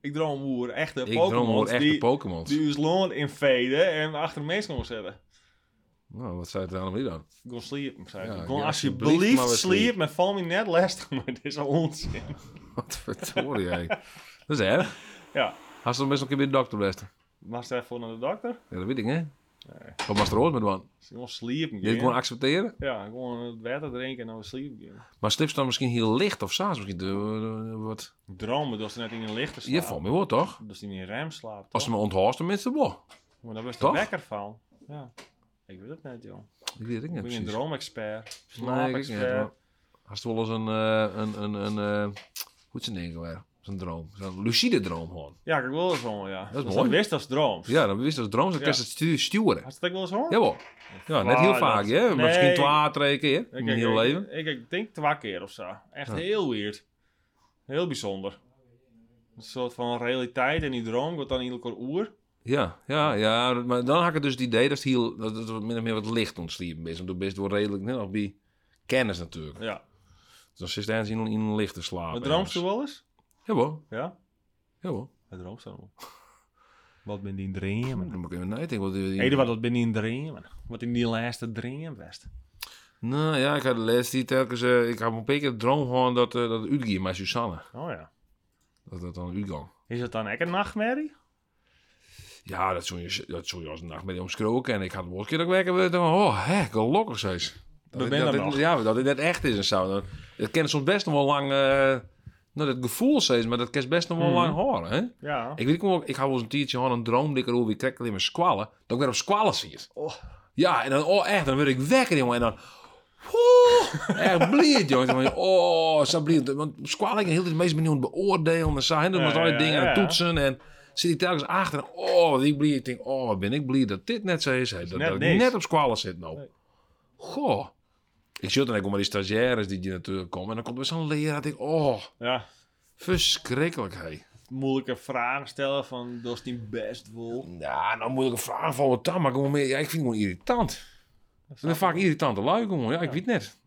Speaker 2: ik droom hoe echte
Speaker 1: Ik droom over
Speaker 2: Pokémon
Speaker 1: echte
Speaker 2: die,
Speaker 1: Pokémon.
Speaker 2: die ons land invaden en achter mensen gaan zetten.
Speaker 1: Nou, wat zei het dan allemaal dan?
Speaker 2: Ik kon sliepen, zei
Speaker 1: Ja,
Speaker 2: ik. Ik
Speaker 1: ja,
Speaker 2: kon
Speaker 1: alsjeblieft maar
Speaker 2: alsjeblieft
Speaker 1: weer
Speaker 2: sliepen en val me net lastig, maar dit is al onzin.
Speaker 1: Wat verdorie, jij. Dat is erg.
Speaker 2: Ja.
Speaker 1: Had ze dan best nog een keer bij de dokter best?
Speaker 2: Maar stel voor naar de dokter.
Speaker 1: Ja, dat weet ik, hè? Wat was er ooit met man?
Speaker 2: Ze gewoon sliepen.
Speaker 1: Dit
Speaker 2: gaan.
Speaker 1: gewoon accepteren?
Speaker 2: Ja, gewoon het water drinken en dan weer sliepen. gaan.
Speaker 1: Maar slips dan misschien heel licht of s'avonds misschien eh, eh, wat...
Speaker 2: Dromen dat ze net in een lichte
Speaker 1: Je
Speaker 2: slaapt.
Speaker 1: valt me wel, toch?
Speaker 2: Dat ze niet in rem slaapt.
Speaker 1: Als ze
Speaker 2: toch?
Speaker 1: me onthoort, tenminste wel.
Speaker 2: Maar daar was de
Speaker 1: Toch?
Speaker 2: wekker van. Ja. Ik weet het niet, joh.
Speaker 1: Ik weet het
Speaker 2: Ik
Speaker 1: niet
Speaker 2: ben een
Speaker 1: precies.
Speaker 2: droomexpert.
Speaker 1: Nee, ik weet niet.
Speaker 2: Slaapexpert.
Speaker 1: maar Als het wel eens een... eh, een, een, een eh, hoe is het ding weer? Zo'n droom. Zo'n lucide droom gewoon.
Speaker 2: Ja, ik wil het wel, ja.
Speaker 1: is
Speaker 2: Dus
Speaker 1: mooi.
Speaker 2: Dat wist als droom.
Speaker 1: Ja, dan wist je dat droom, dan kun je
Speaker 2: Ja.
Speaker 1: het stu- sturen.
Speaker 2: Had je dat ook wel eens hoor?
Speaker 1: Jawel. Ja, net heel
Speaker 2: Waar,
Speaker 1: vaak,
Speaker 2: dat-
Speaker 1: hè? Maar
Speaker 2: Nee.
Speaker 1: Misschien twaalf, twee keer in je hele leven.
Speaker 2: Ik, ik, ik denk twee keer of zo. Echt
Speaker 1: Ja.
Speaker 2: heel weird. Heel bijzonder. Een soort van realiteit en die droom wordt dan iedere keer oer.
Speaker 1: Ja, ja, ja. Maar dan had ik dus het idee dat het, heel, dat het wat min of meer wat licht ontsliepen is. Want dat best wel redelijk net nog bij kennis natuurlijk.
Speaker 2: Ja.
Speaker 1: Dus dan zit hij in een- in een lichte slaap.
Speaker 2: Maar droomst je wel eens?
Speaker 1: Jawel,
Speaker 2: Ja.
Speaker 1: jawel.
Speaker 2: Het droomt zo. Wat ben die dreamen?
Speaker 1: Dan moet ik even nadenken. eh, Wat,
Speaker 2: Eduard, wat ben die in dreamen? Wat in die laatste dream was.
Speaker 1: Nou ja, ik had de laatste die telkens... eh, ik had een paar keer de droom gewoon dat, eh dat Udgi, mijn Susanne,
Speaker 2: Oh ja.
Speaker 1: dat dat dan Udgang.
Speaker 2: Is het dan echt een nachtmerrie?
Speaker 1: Ja, dat zou je, dat zou je als een nachtmerrie omschroken. En ik had wel eens een keer dat ik wekker werd en van, oh, hè, gelukkig zijn ze. Dat
Speaker 2: We
Speaker 1: het-
Speaker 2: zijn
Speaker 1: dat
Speaker 2: er
Speaker 1: het-
Speaker 2: nog.
Speaker 1: Ja, dat het net echt is en zo. Dat- Dat kent soms best nog wel lang... eh, nou, dat gevoel steeds, maar dat kan best nog wel
Speaker 2: Mhm.
Speaker 1: lang horen, hè?
Speaker 2: Ja.
Speaker 1: Ik weet ook, ik had wel eens een tiertje gewoon een droom dikker hoe ik kreeg alleen maar squallen. Dat ik weer op squallen zie.
Speaker 2: Oh.
Speaker 1: Ja, en dan, oh echt, dan word ik wekker, jongen. En dan, oeh, echt blind, jongen. Dan van, oh, zo blind. Want squallen, ik hield het meest benieuwd beoordelen. En zo, en dan
Speaker 2: Ja,
Speaker 1: was al die
Speaker 2: ja,
Speaker 1: dingen aan het
Speaker 2: ja.
Speaker 1: toetsen. En zit ik telkens achter. En, oh, wat ik blind. Ik denk, oh, wat ben ik blind dat dit net zo is. hè. dat
Speaker 2: net
Speaker 1: dat ik
Speaker 2: niks.
Speaker 1: net op squallen zit nou.
Speaker 2: Nee.
Speaker 1: Goh. Ik zit dan ook maar die stagiaires die hier natuurlijk komen. En dan komt er zo'n leraar. Ik denk, oh,
Speaker 2: ja.
Speaker 1: verschrikkelijk, hé.
Speaker 2: Moeilijke vragen stellen van, dat is niet best wel.
Speaker 1: Nou, nou moet ik een vraag van wat dan, maar gewoon meer, ja, ik vind het gewoon irritant. Dat zijn vaak irritante lui, gewoon. Ja, ik weet net.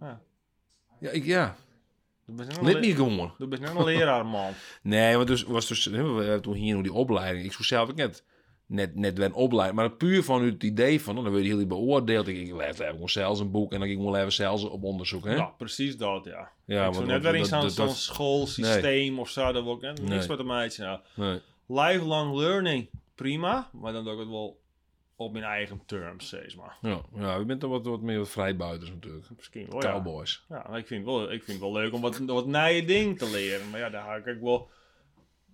Speaker 2: Ja.
Speaker 1: Ja, ik, ja.
Speaker 2: Je bent net een
Speaker 1: Lid
Speaker 2: le-
Speaker 1: niet gewoon.
Speaker 2: Je bent net een leraar, man.
Speaker 1: Nee, want dus was dus, hè, we hebben toen hier nog die opleiding. Ik zou zelf ook net, net, net weer een opleiding. Maar puur van het idee van, nou, dan word je heel beoordeeld. Ik, ik lees even gewoon zelfs een boek en dan ging ik gewoon even zelfs op onderzoek, hè?
Speaker 2: Ja, precies dat, ja.
Speaker 1: ja
Speaker 2: ik zou net weer in zo'n zo'n schoolsysteem of zo, dat wil ik net niks
Speaker 1: Nee.
Speaker 2: met de meidje. Nou,
Speaker 1: nee.
Speaker 2: lifelong learning, prima, maar dan doe ik het wel op mijn eigen terms, zeg maar.
Speaker 1: Ja, ja, je bent dan wat, wat meer wat vrijbuiters natuurlijk.
Speaker 2: Misschien wel, Oh ja.
Speaker 1: Cowboys.
Speaker 2: Ja, maar ik vind, het wel, ik vind het wel leuk om wat, wat nieuwe dingen te leren. Maar ja, daar ga ik ook wel...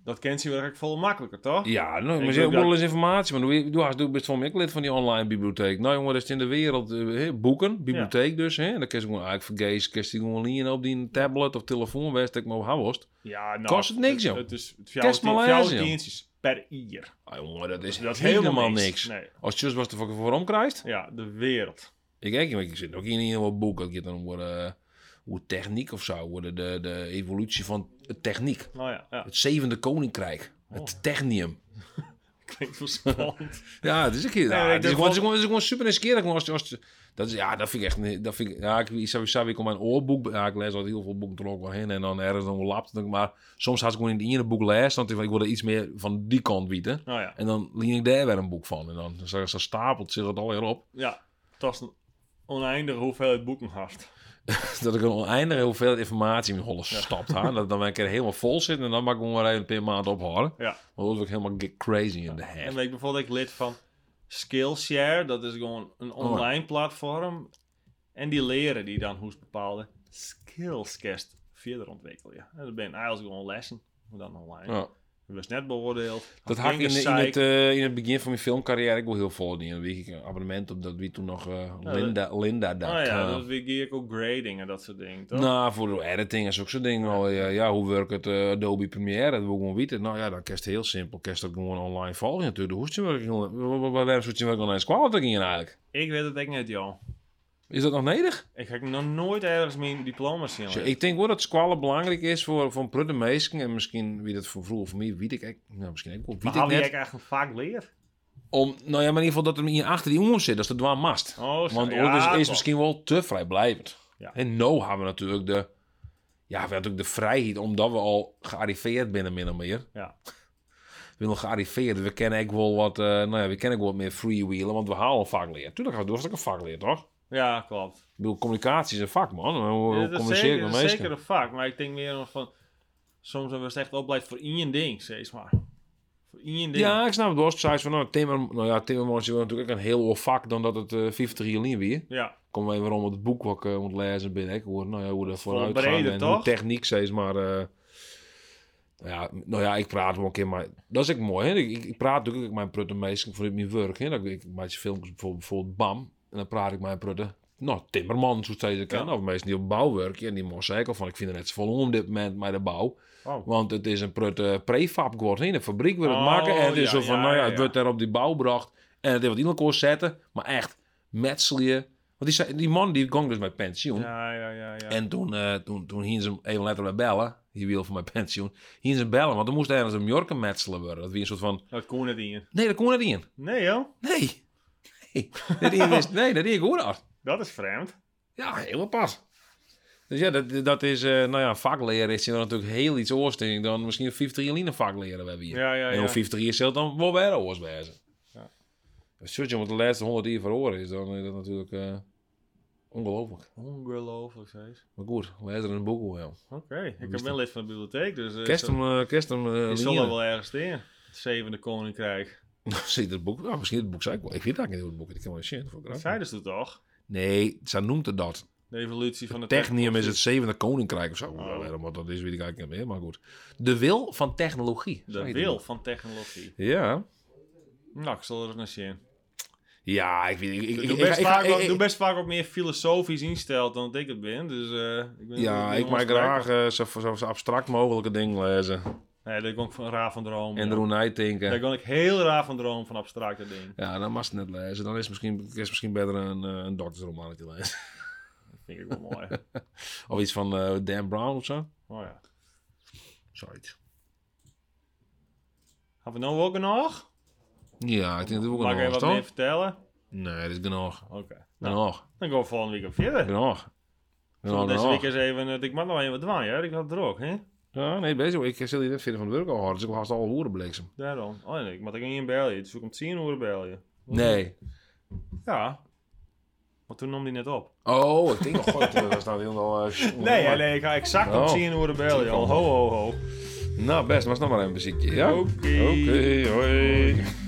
Speaker 2: Dat kent ze wel veel makkelijker, toch?
Speaker 1: Ja, nou,
Speaker 2: Ik
Speaker 1: maar
Speaker 2: denk
Speaker 1: ze hebben
Speaker 2: dat-
Speaker 1: wel eens informatie. Maar doe, doe, doe best wel meer lid van die online bibliotheek. Nou jongen, dat is in de wereld. eh, hè, boeken, bibliotheek dus. Hè? En dan kun je ze gewoon eigenlijk vergezen. Kun je die gewoon leren op die tablet of telefoon. Waar ik maar op houden.
Speaker 2: Ja, nou...
Speaker 1: Kost het niks, joh.
Speaker 2: Het is
Speaker 1: Kerst Maleisië,
Speaker 2: 14
Speaker 1: joh.
Speaker 2: tientjes per jaar.
Speaker 1: Ah, jongen, dat is,
Speaker 2: Dat is
Speaker 1: helemaal niks.
Speaker 2: Nee,
Speaker 1: Als je was er voor voorom krijgt.
Speaker 2: ja, de wereld.
Speaker 1: Ik kijk, ik zit ook in heel wat boeken. Dat gaat dan over eh, hoe techniek of zo. Over de, de, de evolutie van techniek.
Speaker 2: Nou ja, ja.
Speaker 1: Het zevende koninkrijk.
Speaker 2: Oh.
Speaker 1: Het technium.
Speaker 2: klinkt wel spannend.
Speaker 1: Ja, het is een keer.
Speaker 2: Nee,
Speaker 1: ja,
Speaker 2: ik
Speaker 1: het, is gewoon,
Speaker 2: denk
Speaker 1: het, is
Speaker 2: wel-
Speaker 1: gewoon, het is gewoon super nieuwsgierig. maar Als, als, dat is, ja, dat vind ik echt. niet- Dat vind ik, ja, ik, ik zou- ik zou ik om mijn oorboek. Ja, ik lees al heel veel boeken er ook wel heen. En dan ergens dan lapt het. Maar soms had ik gewoon in het ene boek les. Want ik wil er iets meer van die kant weten.
Speaker 2: nou ja,
Speaker 1: En dan leen ik daar weer een boek van. En dan zo, zo stapelt zich dat alweer op.
Speaker 2: ja. Dat is een oneindige hoeveelheid boeken hard.
Speaker 1: Dat ik een oneindige hoeveelheid informatie in mijn holle stapt. ha. Dat dan ben ik er helemaal vol zit. En dan mag ik gewoon weer even per maand ophouden.
Speaker 2: Ja.
Speaker 1: Dan word ik helemaal get crazy in de head.
Speaker 2: En ben ik bijvoorbeeld ook lid van Skillshare. Dat is gewoon
Speaker 1: Oh.
Speaker 2: een online platform. En die leren die dan hoe ze bepaalde skills kerst verder ontwikkelen. En dat ben eigenlijk gewoon lessen. Maar dan online.
Speaker 1: Ja.
Speaker 2: We zijn net beoordeeld.
Speaker 1: Dat had ik in, in,
Speaker 2: Ingesyched.
Speaker 1: het, eh, in het begin van mijn filmcarrière ik wel heel veel dingen. Dan kreeg ik een abonnement op dat wie toen nog eh, Linda, Linda dat.
Speaker 2: Nou ja,
Speaker 1: eh,
Speaker 2: dat is weer ook grading en dat soort dingen, toch?
Speaker 1: nou, voor de editing en zulke soort dingen. wel, ja, ja, hoe werkt het eh, Adobe Premiere? Dat wil ik gewoon weten. Nou ja, dan kerst heel simpel. Kerst dat gewoon online volgen natuurlijk. De hoestjewerking. Waar werden hoestjewerking online squallen in eigenlijk?
Speaker 2: Ik weet het echt niet, joh.
Speaker 1: Is dat nog nodig?
Speaker 2: Ik ga nog nooit ergens mijn diploma zien.
Speaker 1: Dus ik denk wel dat squallen belangrijk is voor, voor prutte meesken. En misschien wie dat voor vroeger voor mij, weet ik echt. Nou, misschien ook wel.
Speaker 2: maar
Speaker 1: Weet ik
Speaker 2: hou je
Speaker 1: net.
Speaker 2: eigenlijk vaak leer?
Speaker 1: Om, nou ja, maar in ieder geval dat er hier achter die jongens zit. Dat is de dwaan mast.
Speaker 2: Oh, zo.
Speaker 1: Want
Speaker 2: Ja,
Speaker 1: ja, is,
Speaker 2: toch.
Speaker 1: misschien wel te vrijblijvend.
Speaker 2: Ja.
Speaker 1: En nou hebben we natuurlijk de, ja, we hebben natuurlijk de vrijheid, omdat we al gearriveerd binnen min of meer.
Speaker 2: Ja.
Speaker 1: We zijn nog gearriveerd. We kennen ook wel wat, eh, nou ja, we kennen ook wel wat meer freewheelen, want we halen vaak leer. Tuurlijk gaan we door, dat is ook een vak leer, toch?
Speaker 2: Ja, klopt.
Speaker 1: Ik bedoel, communicatie is een vak, man. Hoe, hoe
Speaker 2: Ja, dat is
Speaker 1: communiceer
Speaker 2: zeker,
Speaker 1: ik met
Speaker 2: dat is zeker
Speaker 1: mensen?
Speaker 2: een vak, maar ik denk meer nog van... Soms hebben we het echt opleid voor één ding, zeg maar. Voor één ding.
Speaker 1: Ja, ik snap het wel. Als het zei van, nou, timmer, nou ja, timmerman is natuurlijk ook een heel oor vak dan dat het eh 50 jaar alleen weer.
Speaker 2: Ja,
Speaker 1: kom even om het boek wat ik eh, moet lezen binnen. Ik hoor nou ja, hoe dat
Speaker 2: is wel
Speaker 1: vooruit gaat
Speaker 2: breder,
Speaker 1: en hoe
Speaker 2: toch?
Speaker 1: techniek ze is. Maar eh, nou, ja, nou ja, ik praat wel een keer, maar dat is ook mooi. Hè? Ik, ik, ik praat natuurlijk ook mijn prutten meestal vanuit mijn werk. Hè? Dat, ik ik maak filmpjes bijvoorbeeld, bijvoorbeeld BAM en dan praat ik mijn prutten. Nou, timmerman, zo steeds ik ken.
Speaker 2: Ja.
Speaker 1: Of mensen die op bouw werken. En die moest zeggen al van, ik vind het net zo vol op dit moment met de bouw.
Speaker 2: Oh.
Speaker 1: Want het is een prutte prefab geworden. hè. In de fabriek wil het
Speaker 2: Oh,
Speaker 1: maken. En het is zo
Speaker 2: ja,
Speaker 1: van,
Speaker 2: ja,
Speaker 1: nou ja,
Speaker 2: ja,
Speaker 1: het
Speaker 2: ja.
Speaker 1: wordt daar op die bouw gebracht. En het heeft wat iemand kon zetten. Maar echt, metselen. Want die, zei- die man die ging dus met pensioen.
Speaker 2: ja, ja, ja. ja.
Speaker 1: En toen, eh toen, toen hingen ze hem even letterlijk bellen. Die wil van mijn pensioen. Hingen ze hem bellen, want er moest ergens een Jorken metselen worden. Dat wie een soort van.
Speaker 2: Dat kon het in.
Speaker 1: Nee, dat kon net in.
Speaker 2: Nee, joh.
Speaker 1: Nee. Nee, dat in is, nee, dat deed ik goed af.
Speaker 2: Dat is vreemd.
Speaker 1: Ja, heel apart. Dus ja, dat, dat is, eh, nou ja, vakleren is hier natuurlijk heel iets oors denk ik, dan misschien 50 jaar een vakleren we hebben hier.
Speaker 2: Ja, ja,
Speaker 1: En
Speaker 2: ja.
Speaker 1: om 50 jaar zult dan wel weer oors wezen.
Speaker 2: Ja.
Speaker 1: Als je wat de laatste 100 jaar verloren is, dan is dat natuurlijk eh, ongelooflijk.
Speaker 2: Ongelooflijk, zeg.
Speaker 1: Maar goed, lees er een boek over. joh.
Speaker 2: Oké, ik ben lid van de bibliotheek, dus... eh,
Speaker 1: Kerst
Speaker 2: zo-
Speaker 1: hem, eh, kerst hem. eh,
Speaker 2: Ik zal
Speaker 1: leren.
Speaker 2: er wel ergens in. Het zevende koninkrijk.
Speaker 1: Zit het boek? Nou, misschien het boek zei ik wel. Ik weet eigenlijk niet hoe het boek is. Ik kan wel shit voor
Speaker 2: Dat
Speaker 1: graag.
Speaker 2: zeiden ze toch?
Speaker 1: Nee, ze noemt het dat.
Speaker 2: De evolutie van de
Speaker 1: Technium is
Speaker 2: technologie.
Speaker 1: het zevende koninkrijk of zo.
Speaker 2: Oh.
Speaker 1: Waarom wat dat is, weet ik eigenlijk niet meer, maar goed. De wil van technologie. Zo
Speaker 2: De
Speaker 1: heet
Speaker 2: wil van technologie.
Speaker 1: het. Ja.
Speaker 2: Nou, ik zal er nog zien.
Speaker 1: Ja, ik weet ik- ik-
Speaker 2: Ik
Speaker 1: ik-
Speaker 2: doe
Speaker 1: ik-
Speaker 2: best,
Speaker 1: ik-
Speaker 2: vaak,
Speaker 1: ik-
Speaker 2: wat-
Speaker 1: ik-
Speaker 2: doe best vaak wat meer filosofisch insteld dan dat ik het ben. Dus, eh, ik ben
Speaker 1: Ja, ik maak graag eh, zo, zo, zo abstract mogelijke dingen lezen.
Speaker 2: Nee, daar kon ik van raar van droom.
Speaker 1: En erover nadenken.
Speaker 2: Daar kon ik heel raar van droom van abstracte dingen.
Speaker 1: Ja, dan mag ze het net lezen. Dan is het misschien, is het misschien beter een, eh, een doktersromannetje lezen.
Speaker 2: Dat vind ik wel mooi.
Speaker 1: Of iets van eh, Dan Brown of zo.
Speaker 2: Oh ja.
Speaker 1: Zoiets.
Speaker 2: Hebben we nou ook nog?
Speaker 1: Ja, ik denk dat we ook
Speaker 2: Mag ik
Speaker 1: nog
Speaker 2: even
Speaker 1: was,
Speaker 2: wat meer
Speaker 1: toch?
Speaker 2: vertellen?
Speaker 1: Nee, dat is genoeg.
Speaker 2: Oké. Nou,
Speaker 1: Genoeg.
Speaker 2: dan gaan we volgende week op verder.
Speaker 1: Genoeg.
Speaker 2: Zullen
Speaker 1: Genoeg,
Speaker 2: we deze week
Speaker 1: genoeg.
Speaker 2: eens even... eh, ik mag nog even wat dwaan, ja? Ik had het er ook, hè?
Speaker 1: Ja, nee, bezig. Ik eh, zit hier net verder van de werk al hard. Dus ik was al horen bliksem.
Speaker 2: Daarom. Oh nee, ik mag er geen bellen. Dus ik om tien uur bellen.
Speaker 1: Nee.
Speaker 2: Ja. Maar toen nam die net op.
Speaker 1: Oh, ik denk nog goed. Dat staat helemaal... eh,
Speaker 2: Nee, hè, nee, ik ga exact om
Speaker 1: Oh.
Speaker 2: tien uur bellen, joh. Ho, ho, ho. Oh,
Speaker 1: Nou, best. Was nog maar even een muziekje, ja?
Speaker 2: Oké.
Speaker 1: Oké, hoi.